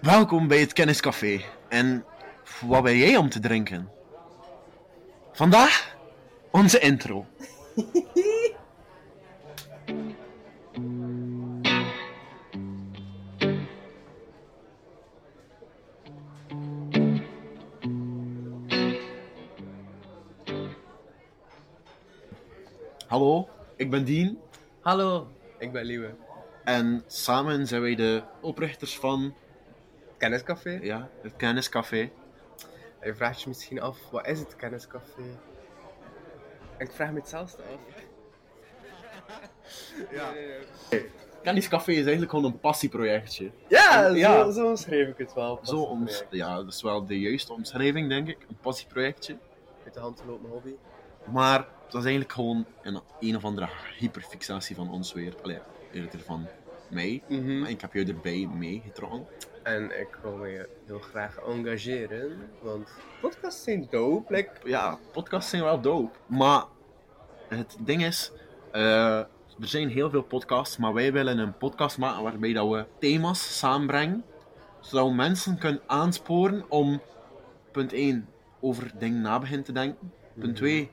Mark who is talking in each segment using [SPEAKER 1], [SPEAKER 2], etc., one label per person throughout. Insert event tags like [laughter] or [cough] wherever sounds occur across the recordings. [SPEAKER 1] Welkom bij het Kenniscafé. En wat ben jij om te drinken? Vandaag onze intro. Hallo, ik ben Dien.
[SPEAKER 2] Hallo, ik ben Liewe.
[SPEAKER 1] En samen zijn wij de oprichters van
[SPEAKER 2] Kenniscafé?
[SPEAKER 1] ja, het Kenniscafé.
[SPEAKER 2] Je vraagt je misschien af, wat is het kenniscafé? Ik vraag me hetzelfde af.
[SPEAKER 1] Ja.
[SPEAKER 2] Nee, nee, nee.
[SPEAKER 1] Kenniscafé is eigenlijk gewoon een passieprojectje.
[SPEAKER 2] Ja,
[SPEAKER 1] Ja.
[SPEAKER 2] Zo, zo omschreef ik het wel.
[SPEAKER 1] Zo ons, ja, dat is wel de juiste omschrijving, denk ik. Een passieprojectje.
[SPEAKER 2] Uit de hand te lopen hobby.
[SPEAKER 1] Maar het was eigenlijk gewoon een, een of andere hyperfixatie van ons weer. Allee, eerder van mij. Maar Ik heb jou erbij meegetrokken.
[SPEAKER 2] En ik wil me heel graag engageren, want podcasts zijn dope. Like,
[SPEAKER 1] Ja, podcasts zijn wel dope. Maar het ding is, eh, er zijn heel veel podcasts, maar wij willen een podcast maken waarbij dat we thema's samenbrengen, zodat we mensen kunnen aansporen om, punt 1, over dingen na beginnen te denken.
[SPEAKER 2] Mhm.
[SPEAKER 1] Punt 2,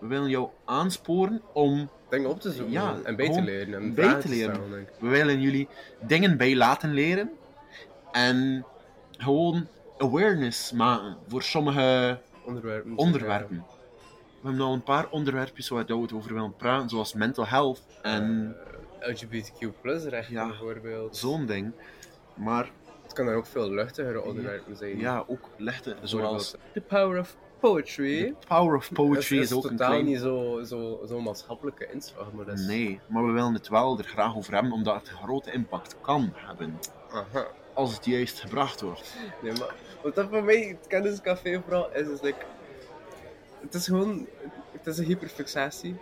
[SPEAKER 1] we willen jou aansporen om
[SPEAKER 2] mm, dingen op te zoeken
[SPEAKER 1] Ja,
[SPEAKER 2] en bij te
[SPEAKER 1] gewoon
[SPEAKER 2] leren. En
[SPEAKER 1] bij
[SPEAKER 2] vragen
[SPEAKER 1] te leren.
[SPEAKER 2] stellen, denk ik.
[SPEAKER 1] We willen jullie dingen bij laten leren. En gewoon awareness maken voor sommige
[SPEAKER 2] Onderwerpen.
[SPEAKER 1] onderwerpen. We hebben al een paar onderwerpjes waar we het over willen praten, zoals mental health en
[SPEAKER 2] Eh, LGBTQ plus rechten
[SPEAKER 1] Ja.
[SPEAKER 2] bijvoorbeeld.
[SPEAKER 1] zo'n ding. Maar
[SPEAKER 2] Het kan dan ook veel luchtigere onderwerpen zijn.
[SPEAKER 1] ja, ook lichte, zoals
[SPEAKER 2] Zoals The Power of Poetry.
[SPEAKER 1] power of poetry
[SPEAKER 2] Het
[SPEAKER 1] is ook een
[SPEAKER 2] totaal
[SPEAKER 1] klein...
[SPEAKER 2] niet zo'n zo, zo maatschappelijke inslag, maar dat is...
[SPEAKER 1] Nee, maar we willen het wel er graag over hebben, omdat het grote impact kan hebben.
[SPEAKER 2] Aha.
[SPEAKER 1] Als het juist gebracht wordt.
[SPEAKER 2] Nee, maar wat dat voor mij het kenniscafé vooral is, is like... Het is gewoon... Het is een hyperfixatie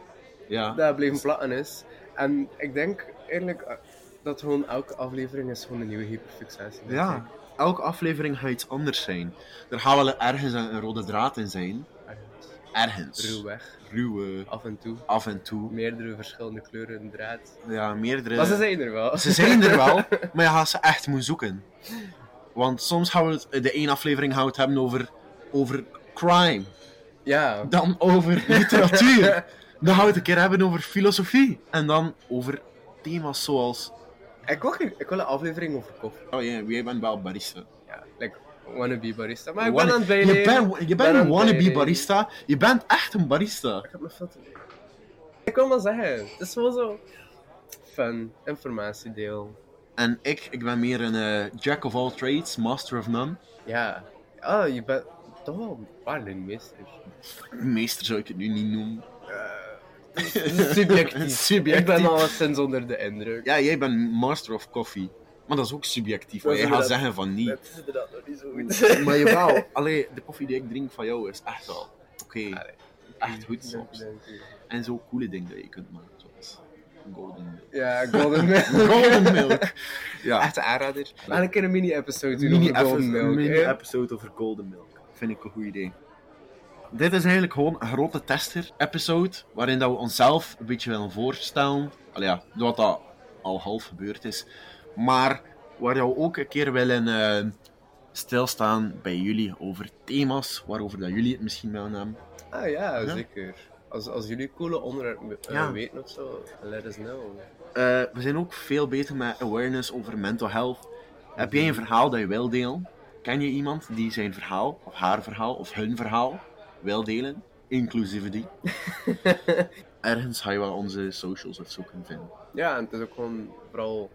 [SPEAKER 1] Ja,
[SPEAKER 2] dat blijven platten is. En ik denk eigenlijk eh, dat gewoon elke aflevering is gewoon een nieuwe hyperfixatie. denk
[SPEAKER 1] Ja,
[SPEAKER 2] ik.
[SPEAKER 1] elke aflevering gaat iets anders zijn. Er gaat wel ergens een een rode draad in zijn. Ergens.
[SPEAKER 2] Ruwweg,
[SPEAKER 1] Ruwe,
[SPEAKER 2] af en toe.
[SPEAKER 1] af en toe.
[SPEAKER 2] Meerdere verschillende kleuren en draad.
[SPEAKER 1] Ja, meerdere.
[SPEAKER 2] Maar ze zijn er wel.
[SPEAKER 1] Eh, Ze zijn er wel, maar je gaat ze echt moeten zoeken. Want soms gaan we het, de één aflevering gaan we het hebben over, over crime.
[SPEAKER 2] [laughs] Ja.
[SPEAKER 1] Dan
[SPEAKER 2] [laughs]
[SPEAKER 1] over literatuur. Dan gaan we het een keer hebben over filosofie. En dan over thema's zoals...
[SPEAKER 2] Ik wil, ik wil een aflevering over koffie.
[SPEAKER 1] Oh ja, jij bent wel barista.
[SPEAKER 2] Ja, like, wannabe barista. Maar ik ben
[SPEAKER 1] Wanna-
[SPEAKER 2] aan het bijleren.
[SPEAKER 1] je bent, je
[SPEAKER 2] ben aan
[SPEAKER 1] bent
[SPEAKER 2] het
[SPEAKER 1] een wannabe
[SPEAKER 2] bijleren.
[SPEAKER 1] barista. Je bent echt een barista.
[SPEAKER 2] Ik heb nog veel te leren. Ik wil maar zeggen, het is wel zo... Fun, informatiedeel.
[SPEAKER 1] En ik, ik ben meer een eh, jack of all trades, master of none.
[SPEAKER 2] Ja. Oh, je bent toch wel een paardenmeester.
[SPEAKER 1] Meester zou ik het nu niet noemen.
[SPEAKER 2] Eh, [laughs]
[SPEAKER 1] [laughs]
[SPEAKER 2] Subjectief.
[SPEAKER 1] Subjectief.
[SPEAKER 2] Ik ben al sinds onder de indruk.
[SPEAKER 1] Ja, jij bent master of coffee. Maar dat is ook subjectief.
[SPEAKER 2] Dat
[SPEAKER 1] want
[SPEAKER 2] is
[SPEAKER 1] Jij gaat
[SPEAKER 2] inderdaad-
[SPEAKER 1] zeggen van niet.
[SPEAKER 2] Dat is inderdaad nog niet zo
[SPEAKER 1] [laughs]
[SPEAKER 2] goed. [laughs]
[SPEAKER 1] Maar jawel, allee, de koffie die ik drink van jou is echt wel oké.
[SPEAKER 2] Allee.
[SPEAKER 1] Echt goed soms. En zo coole dingen dat je kunt maken, zoals golden milk. [laughs]
[SPEAKER 2] Ja, Golden Milk.
[SPEAKER 1] Golden
[SPEAKER 2] [laughs]
[SPEAKER 1] milk! Ja.
[SPEAKER 2] Echt een aanrader. En ik kan een mini-episode doen
[SPEAKER 1] Mini
[SPEAKER 2] over Golden Milk. hè.
[SPEAKER 1] episode over golden milk. Vind ik een goed idee. Dit is eigenlijk gewoon een grote tester-episode, waarin dat we onszelf een beetje willen voorstellen. Allee, ja, wat dat al half gebeurd is. Maar waar we ook een keer willen eh, stilstaan bij jullie over thema's, waarover dat jullie het misschien willen hebben.
[SPEAKER 2] Ah ja,
[SPEAKER 1] Ja.
[SPEAKER 2] zeker. Als, als jullie coole onderwerpen eh,
[SPEAKER 1] Ja.
[SPEAKER 2] weten of zo, let us know.
[SPEAKER 1] Eh, we zijn ook veel beter met awareness over mental health. Heb jij een verhaal dat je wil delen? Ken je iemand die zijn verhaal, of haar verhaal, of hun verhaal wil delen? Inclusieve die. Ergens ga je wel onze socials of zo kunnen vinden.
[SPEAKER 2] Ja, en het is ook gewoon vooral.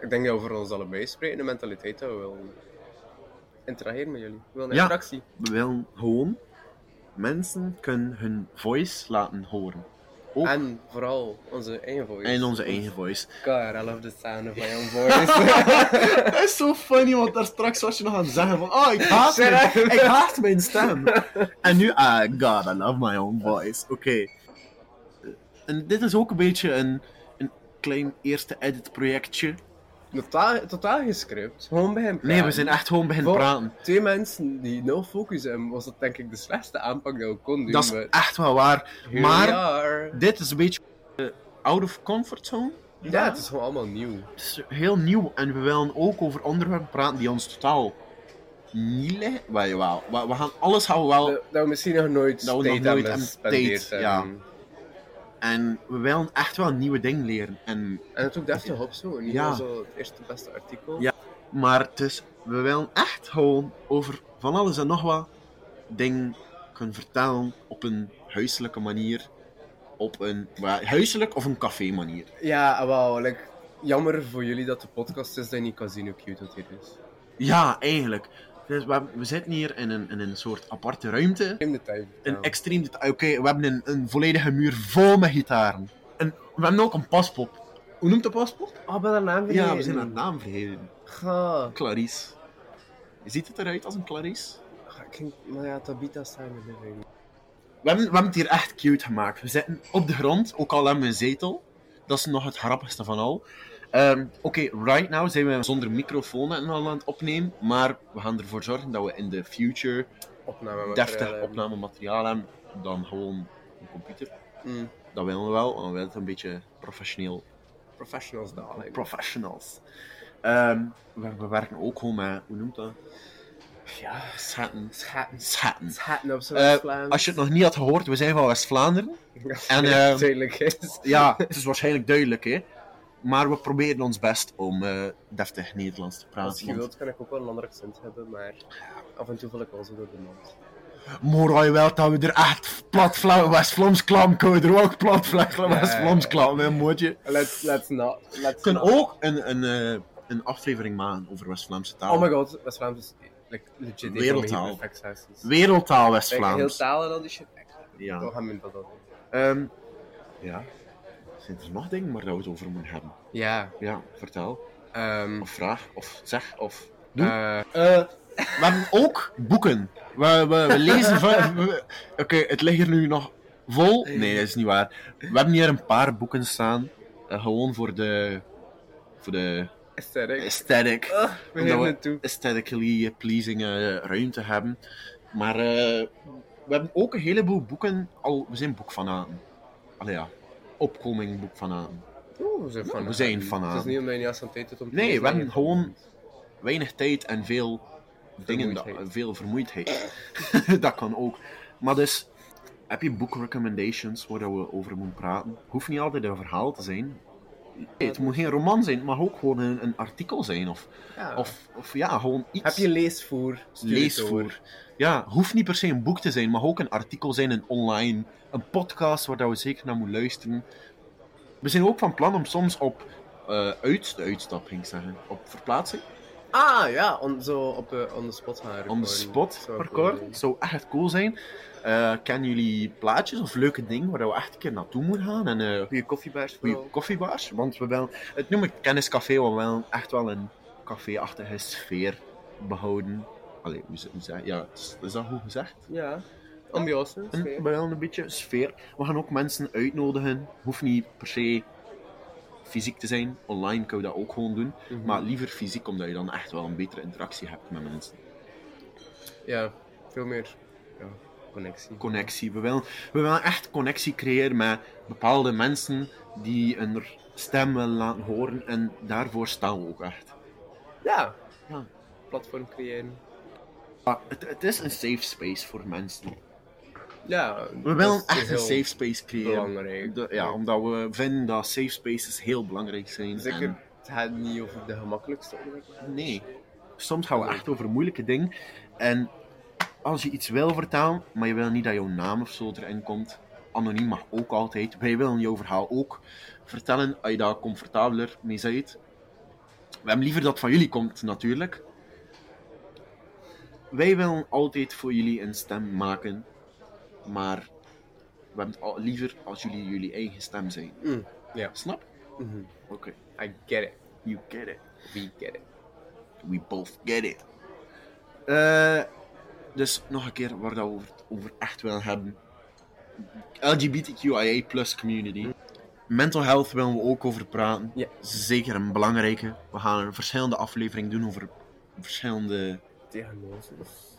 [SPEAKER 2] Ik denk dat we voor ons allebei spreken, de mentaliteit dat we willen interageren met jullie. We willen
[SPEAKER 1] Ja.
[SPEAKER 2] interactie.
[SPEAKER 1] We willen gewoon mensen kunnen hun voice laten horen. Ook
[SPEAKER 2] En vooral onze eigen voice.
[SPEAKER 1] en onze eigen [laughs] voice.
[SPEAKER 2] God, I love the sound of my own voice.
[SPEAKER 1] Dat is zo funny, want daar straks was je nog aan het zeggen van oh, ik haat,
[SPEAKER 2] Shut
[SPEAKER 1] mijn,
[SPEAKER 2] up.
[SPEAKER 1] ik haat mijn stem. En nu, ah, god, I love my own voice. Oké. En dit is ook een beetje een, een klein eerste edit projectje.
[SPEAKER 2] [laughs] totaal, totaal gescript. Gewoon bij hem
[SPEAKER 1] Nee, we zijn echt gewoon beginnen
[SPEAKER 2] Wat?
[SPEAKER 1] praten.
[SPEAKER 2] Twee mensen die no focus hebben, was dat denk ik de slechtste aanpak die we konden doen.
[SPEAKER 1] Dat is
[SPEAKER 2] maar
[SPEAKER 1] echt wel waar.
[SPEAKER 2] here we
[SPEAKER 1] Maar
[SPEAKER 2] are.
[SPEAKER 1] dit is een beetje eh, out of comfort zone
[SPEAKER 2] Ja, het is gewoon allemaal nieuw.
[SPEAKER 1] Het is heel nieuw en we willen ook over onderwerpen praten die ons totaal niet liggen. Wel, jawel. We, we gaan alles gaan we wel.
[SPEAKER 2] Dat dat we Nou, misschien nog nooit
[SPEAKER 1] Dat we nog
[SPEAKER 2] tijd
[SPEAKER 1] nooit
[SPEAKER 2] hebben
[SPEAKER 1] hebben
[SPEAKER 2] gespendeerd. ehm,
[SPEAKER 1] tijd, ja.
[SPEAKER 2] hebben. Eh.
[SPEAKER 1] En we willen echt wel nieuwe dingen leren. En,
[SPEAKER 2] En het ook deftig opzoeken. Niet
[SPEAKER 1] Ja.
[SPEAKER 2] ja. zo het eerste beste artikel.
[SPEAKER 1] Ja. maar het is, we willen echt gewoon over van alles en nog wat dingen kunnen vertellen op een huiselijke manier. Op een wel, huiselijk of een café manier.
[SPEAKER 2] Ja, wauw. Like, jammer voor jullie dat de podcast is dat je niet kan zien hoe cute dat hier is.
[SPEAKER 1] Ja, eigenlijk. Dus we, we zitten hier in een, in een soort aparte ruimte.
[SPEAKER 2] In de tijd.
[SPEAKER 1] Een extreem deta- Oké, we hebben een, een volledige muur vol met gitaren. En we hebben ook een paspop. Hoe noemt de paspop?
[SPEAKER 2] Ah, ben haar naam
[SPEAKER 1] Ja, we zijn haar oh, naam vergeten.
[SPEAKER 2] Ga.
[SPEAKER 1] Clarice. Ziet het eruit als een Clarice?
[SPEAKER 2] Ga, Klinkt, maar ja, Tabitha Simon Living.
[SPEAKER 1] We hebben, we hebben het hier echt cute gemaakt. We zitten op de grond, ook al hebben we een zetel. Dat is nog het grappigste van al. Ehm, Oké, right now zijn we zonder microfoon en al aan het opnemen. Maar we gaan ervoor zorgen dat we in de future
[SPEAKER 2] Opname Eh, met
[SPEAKER 1] deftig opnamemateriaal hebben dan gewoon een computer.
[SPEAKER 2] Mm.
[SPEAKER 1] Dat willen we wel, want we willen het een beetje professioneel
[SPEAKER 2] Professionals, darling.
[SPEAKER 1] professionals. Ehm, we, we werken ook gewoon met, hoe noemt dat?
[SPEAKER 2] ja.
[SPEAKER 1] Schatten.
[SPEAKER 2] Schatten.
[SPEAKER 1] Schatten.
[SPEAKER 2] Schatten op zo'n
[SPEAKER 1] Eh,
[SPEAKER 2] West-Vlaams. [laughs]
[SPEAKER 1] Als je het nog niet had gehoord, we zijn van West-Vlaanderen. en, ehm,
[SPEAKER 2] Duidelijk is.
[SPEAKER 1] Ja, het is waarschijnlijk duidelijk, hè. Maar we proberen ons best om eh, deftig Nederlands te
[SPEAKER 2] Als
[SPEAKER 1] praten.
[SPEAKER 2] je
[SPEAKER 1] want-
[SPEAKER 2] wilt, kan ik ook wel een ander accent hebben, maar af en toe val ik wel zo door de mond.
[SPEAKER 1] Maar hij wel dat we er echt plat Vla- West-Vlaams klam kunnen. we Er ook plat Vla- West-Vlaams klam, hè, mootje.
[SPEAKER 2] Let's, let's not. Let's
[SPEAKER 1] We kunnen
[SPEAKER 2] not.
[SPEAKER 1] ook een, een, eh, een aflevering maken over West-Vlaamse taal.
[SPEAKER 2] Oh my god, West-Vlaams is like, legit een van mijn
[SPEAKER 1] Wereldtaal.
[SPEAKER 2] hyperfixaties.
[SPEAKER 1] Wereldtaal
[SPEAKER 2] Like, heel
[SPEAKER 1] West-Vlaams.
[SPEAKER 2] talen al die shit. echt.
[SPEAKER 1] Ja.
[SPEAKER 2] Toch gaan we dat doen.
[SPEAKER 1] Ehm, ja. Zijn er dus nog dingen waar we het over moeten hebben?
[SPEAKER 2] Ja.
[SPEAKER 1] Ja, vertel.
[SPEAKER 2] ehm,
[SPEAKER 1] Of vraag, of zeg, of... Doe.
[SPEAKER 2] eh,
[SPEAKER 1] we hebben ook boeken. We, we, we lezen van... we- we- Oké, het ligt hier nu nog vol. Nee, dat is niet waar. We hebben hier een paar boeken staan. eh, gewoon voor de... Voor de
[SPEAKER 2] aesthetic.
[SPEAKER 1] aesthetic.
[SPEAKER 2] Ah, we
[SPEAKER 1] Omdat
[SPEAKER 2] gaan
[SPEAKER 1] we-
[SPEAKER 2] naartoe.
[SPEAKER 1] Aesthetically pleasing eh, ruimte hebben. Maar eh, we hebben ook een heleboel boeken al... We zijn boekfanaten. Allee ja. Opkoming boekfanaten.
[SPEAKER 2] Oeh, we zijn van
[SPEAKER 1] we zijn van
[SPEAKER 2] Het is
[SPEAKER 1] aan.
[SPEAKER 2] niet omdat je niet aan tijd hebt om te
[SPEAKER 1] Nee,
[SPEAKER 2] lezen,
[SPEAKER 1] we hebben
[SPEAKER 2] je-
[SPEAKER 1] gewoon weinig tijd en veel dingen, dat-
[SPEAKER 2] Vermoeidheid.
[SPEAKER 1] veel vermoeidheid. [laughs] dat kan ook. Maar dus, heb je book recommendations waar dat we over moeten praten? Hoeft niet altijd een verhaal te zijn. Nee, het moet geen roman zijn, het mag ook gewoon een, een artikel zijn. Of,
[SPEAKER 2] Ja.
[SPEAKER 1] of, of ja, gewoon iets.
[SPEAKER 2] Heb je leesvoer? Stuur het door.
[SPEAKER 1] leesvoer? Ja, hoeft niet per se een boek te zijn, mag ook een artikel zijn, een online, een podcast waar dat we zeker naar moeten luisteren. We zijn ook van plan om soms op eh uit, de uitstap, ging ik zeggen, op verplaatsing.
[SPEAKER 2] Ah ja, on, zo op de on the spot gaan
[SPEAKER 1] on the
[SPEAKER 2] recorden.
[SPEAKER 1] spot
[SPEAKER 2] Zou
[SPEAKER 1] record.
[SPEAKER 2] cool zijn.
[SPEAKER 1] zou echt cool zijn. Eh kennen jullie plaatjes of leuke dingen waar we echt een keer naartoe moeten gaan? En eh
[SPEAKER 2] Goeie koffiebaars
[SPEAKER 1] goede
[SPEAKER 2] vooral.
[SPEAKER 1] koffiebars? Want we willen, het noem ik kenniscafé, want we willen echt wel een caféachtige sfeer behouden. Allee, hoe, ze- hoe ze- ja, is, is dat goed gezegd?
[SPEAKER 2] Ja. Ambiance.
[SPEAKER 1] Een, we willen een beetje sfeer. We gaan ook mensen uitnodigen. Hoeft niet per se fysiek te zijn. Online kunnen we dat ook gewoon doen.
[SPEAKER 2] Mhm.
[SPEAKER 1] Maar liever fysiek, omdat je dan echt wel een betere interactie hebt met mensen.
[SPEAKER 2] Ja, veel meer ja, connectie.
[SPEAKER 1] connectie. We willen, we willen echt connectie creëren met bepaalde mensen die hun r- stem willen laten horen. En daarvoor staan we ook echt.
[SPEAKER 2] ja.
[SPEAKER 1] Ja.
[SPEAKER 2] Platform creëren.
[SPEAKER 1] Maar het, het is een safe space voor mensen.
[SPEAKER 2] Ja.
[SPEAKER 1] We
[SPEAKER 2] dat
[SPEAKER 1] willen
[SPEAKER 2] is
[SPEAKER 1] echt een
[SPEAKER 2] heel
[SPEAKER 1] safe space creëren.
[SPEAKER 2] Belangrijk.
[SPEAKER 1] De- ja, omdat we vinden dat safe spaces heel belangrijk zijn.
[SPEAKER 2] Zeker,
[SPEAKER 1] en-
[SPEAKER 2] het gaat niet over de gemakkelijkste onderwerpen.
[SPEAKER 1] Nee. Soms gaan we echt over moeilijke dingen. En als je iets wil vertellen, maar je wil niet dat jouw naam of zo erin komt, anoniem mag ook altijd. Wij willen jouw verhaal ook vertellen, als je daar comfortabeler mee bent. We hebben liever dat het van jullie komt, natuurlijk. Wij willen altijd voor jullie een stem maken, maar we hebben het al- liever als jullie jullie eigen stem zijn.
[SPEAKER 2] Mm,
[SPEAKER 1] Snap?
[SPEAKER 2] mhm.
[SPEAKER 1] Oké,
[SPEAKER 2] I get it.
[SPEAKER 1] you get it.
[SPEAKER 2] We get it.
[SPEAKER 1] We both get it. Eh, dus nog een keer waar dat we het over echt willen hebben. LGBTQIA plus community. Mental health willen we ook over praten.
[SPEAKER 2] Ja.
[SPEAKER 1] Zeker een belangrijke. We gaan een verschillende aflevering doen over verschillende
[SPEAKER 2] Diagnoses.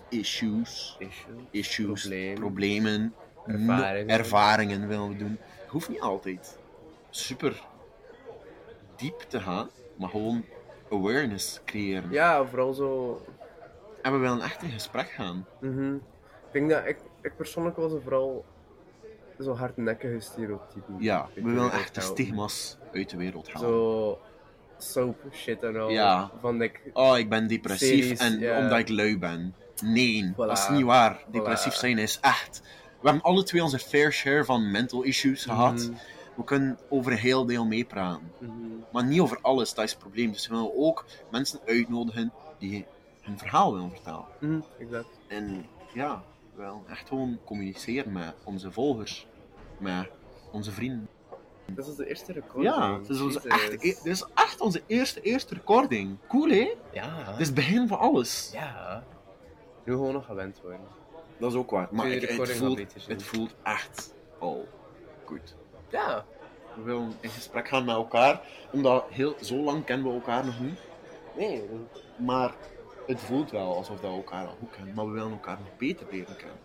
[SPEAKER 1] issues.
[SPEAKER 2] Issue.
[SPEAKER 1] Issues,
[SPEAKER 2] Problemen.
[SPEAKER 1] problemen no-
[SPEAKER 2] Ervaringen.
[SPEAKER 1] ervaringen willen we doen. Hoeft niet altijd super diep te gaan, maar gewoon awareness creëren.
[SPEAKER 2] Ja, vooral zo.
[SPEAKER 1] En we willen echt in gesprek gaan.
[SPEAKER 2] mhm. Ik denk dat ik, ik persoonlijk was er vooral zo hardnekkige stereotypen.
[SPEAKER 1] Ja,
[SPEAKER 2] Ik
[SPEAKER 1] we
[SPEAKER 2] weet
[SPEAKER 1] willen
[SPEAKER 2] niet,
[SPEAKER 1] echt de
[SPEAKER 2] ik hou-
[SPEAKER 1] stigma's uit de wereld halen.
[SPEAKER 2] Zo soap shit en al.
[SPEAKER 1] Ja.
[SPEAKER 2] Van ik.
[SPEAKER 1] Oh, ik ben depressief
[SPEAKER 2] Series,
[SPEAKER 1] en
[SPEAKER 2] ja.
[SPEAKER 1] omdat ik lui ben. Nee,
[SPEAKER 2] Voilà.
[SPEAKER 1] dat is niet waar. Depressief
[SPEAKER 2] Voilà.
[SPEAKER 1] zijn is echt. We hebben alle twee onze fair share van mental issues gehad.
[SPEAKER 2] Mhm,
[SPEAKER 1] We kunnen over heel deel meepraten.
[SPEAKER 2] mhm.
[SPEAKER 1] Maar niet over alles, dat is het probleem. Dus we willen ook mensen uitnodigen die hun verhaal willen vertellen.
[SPEAKER 2] Mhm, Exact.
[SPEAKER 1] En ja, we willen echt gewoon communiceren met onze volgers, met onze vrienden.
[SPEAKER 2] Dat is de eerste record.
[SPEAKER 1] Ja, dit is, onze echt,
[SPEAKER 2] dus-
[SPEAKER 1] e- dit is echt onze eerste, eerste recording. Cool hè?
[SPEAKER 2] Ja.
[SPEAKER 1] Dit is het begin van alles.
[SPEAKER 2] Ja. Nu gewoon nog gewend worden.
[SPEAKER 1] Dat is ook waar. Maar
[SPEAKER 2] Tweede
[SPEAKER 1] ik, het,
[SPEAKER 2] recording van
[SPEAKER 1] voelt,
[SPEAKER 2] Beatles,
[SPEAKER 1] het
[SPEAKER 2] ja.
[SPEAKER 1] voelt echt al goed.
[SPEAKER 2] Ja.
[SPEAKER 1] We willen in gesprek gaan met elkaar, omdat heel, zo lang kennen we elkaar nog niet.
[SPEAKER 2] Nee.
[SPEAKER 1] Maar het voelt wel alsof dat we elkaar al goed kennen. Maar we willen elkaar nog beter leren kennen.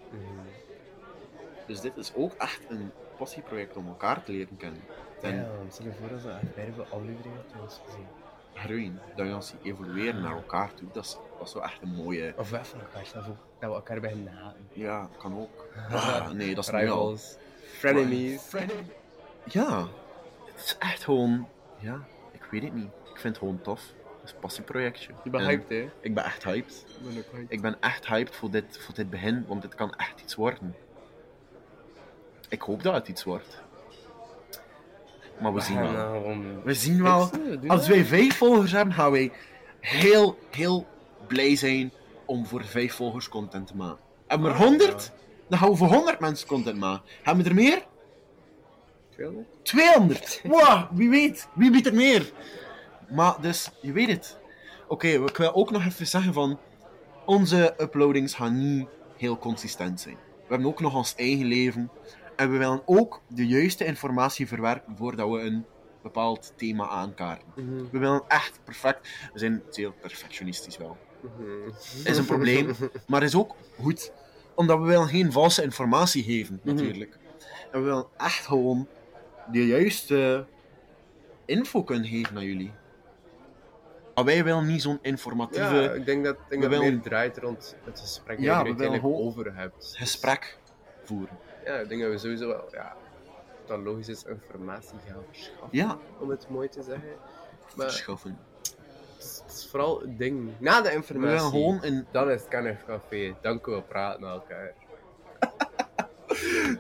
[SPEAKER 1] Dus dit is ook echt een passieproject om elkaar te leren kennen. En
[SPEAKER 2] stel je voor dat we echt vijf afleveringen hebben gezien.
[SPEAKER 1] groeien, dat we ons evolueren naar elkaar toe, dat is, dat is wel echt een mooie...
[SPEAKER 2] Of weg van elkaar, stel voor dat we elkaar beginnen haten.
[SPEAKER 1] Ja, dat kan
[SPEAKER 2] [laughs]
[SPEAKER 1] ook. Ah, nee, dat is nu al.
[SPEAKER 2] Rivals. Frenemies.
[SPEAKER 1] Ja, het is echt gewoon. Ja, ik weet het niet. Ik vind het gewoon tof. Het is een passieprojectje.
[SPEAKER 2] [laughs] Je bent
[SPEAKER 1] En
[SPEAKER 2] hyped, hè?
[SPEAKER 1] Ik ben echt hyped.
[SPEAKER 2] Ik ben ook hyped.
[SPEAKER 1] Ik ben echt hyped voor dit, voor dit begin, want dit kan echt iets worden. Ik hoop dat het iets wordt. Maar we zien
[SPEAKER 2] gaan eh,
[SPEAKER 1] wel.
[SPEAKER 2] gewoon-
[SPEAKER 1] We zien wel.
[SPEAKER 2] Fixen, we doen
[SPEAKER 1] Als
[SPEAKER 2] dat.
[SPEAKER 1] wij vijf volgers hebben, gaan wij heel, heel blij zijn om voor vijf volgers content te maken. Hebben we er
[SPEAKER 2] Ah,
[SPEAKER 1] honderd? Dan gaan we voor honderd mensen content maken. Hebben we er meer? 200! Wow, wie weet, wie biedt er meer? Maar dus, je weet het. Oké, ik wil ook nog even zeggen van, onze uploadings gaan niet heel consistent zijn. We hebben ook nog ons eigen leven. En we willen ook de juiste informatie verwerken voordat we een bepaald thema aankaarten.
[SPEAKER 2] Mhm,
[SPEAKER 1] We willen echt perfect. We zijn heel perfectionistisch wel.
[SPEAKER 2] mhm.
[SPEAKER 1] Is een
[SPEAKER 2] [laughs]
[SPEAKER 1] probleem, maar is ook goed. Omdat we willen geen valse informatie geven,
[SPEAKER 2] Mhm.
[SPEAKER 1] natuurlijk. En we willen echt gewoon de juiste info kunnen geven aan jullie. Maar wij willen niet zo'n informatieve
[SPEAKER 2] Ja, ik denk dat, ik
[SPEAKER 1] Dus,
[SPEAKER 2] denk
[SPEAKER 1] eh, we
[SPEAKER 2] dat het
[SPEAKER 1] willen-
[SPEAKER 2] meer draait rond het gesprek dat
[SPEAKER 1] Ja,
[SPEAKER 2] je er
[SPEAKER 1] we willen
[SPEAKER 2] uiteindelijk
[SPEAKER 1] gewoon-
[SPEAKER 2] over hebt.
[SPEAKER 1] gesprek voeren.
[SPEAKER 2] Ja, ik denk dat we sowieso wel, ja, dat logisch is, informatie gaan verschaffen,
[SPEAKER 1] Ja,
[SPEAKER 2] om het mooi te zeggen. Maar
[SPEAKER 1] verschaffen.
[SPEAKER 2] het is, het is vooral het ding, na de
[SPEAKER 1] We willen
[SPEAKER 2] informatie,
[SPEAKER 1] gewoon een...
[SPEAKER 2] dan is het Kenneth Café, dan kunnen we praten met elkaar.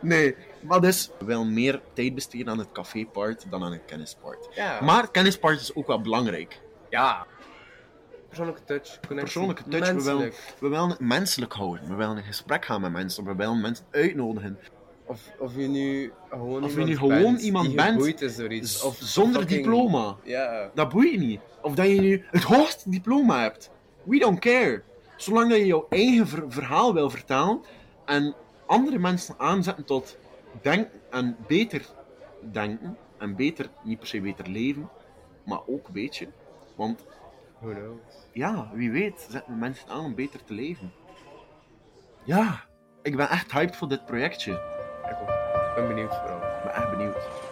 [SPEAKER 1] Nee, maar dus... We willen meer tijd besteden aan het café-part dan aan het kennispart.
[SPEAKER 2] Ja,
[SPEAKER 1] Maar het kennispart is ook wel belangrijk.
[SPEAKER 2] ja. Persoonlijke touch, connectie,
[SPEAKER 1] Persoonlijke touch, we willen,
[SPEAKER 2] menselijk.
[SPEAKER 1] we willen het menselijk houden. We willen in gesprek gaan met mensen. We willen mensen uitnodigen.
[SPEAKER 2] Of, of je nu gewoon
[SPEAKER 1] Of je nu
[SPEAKER 2] iemand
[SPEAKER 1] gewoon
[SPEAKER 2] bent
[SPEAKER 1] iemand
[SPEAKER 2] die
[SPEAKER 1] bent,
[SPEAKER 2] geboeid is door iets.
[SPEAKER 1] Z-
[SPEAKER 2] Of
[SPEAKER 1] zonder
[SPEAKER 2] fucking-
[SPEAKER 1] diploma.
[SPEAKER 2] Ja,
[SPEAKER 1] Dat boeit niet. Of dat je nu het hoogste diploma hebt. We don't care. Zolang dat je jouw eigen ver- verhaal wil vertellen en andere mensen aanzetten tot denken en beter denken. En beter, niet per se beter leven, maar ook een beetje. Want
[SPEAKER 2] who knows.
[SPEAKER 1] ja, wie weet, zetten we mensen aan om beter te leven. Ja, ik ben echt hyped voor dit projectje.
[SPEAKER 2] Ik ook. Ik ben benieuwd vooral.
[SPEAKER 1] Ik ben echt benieuwd.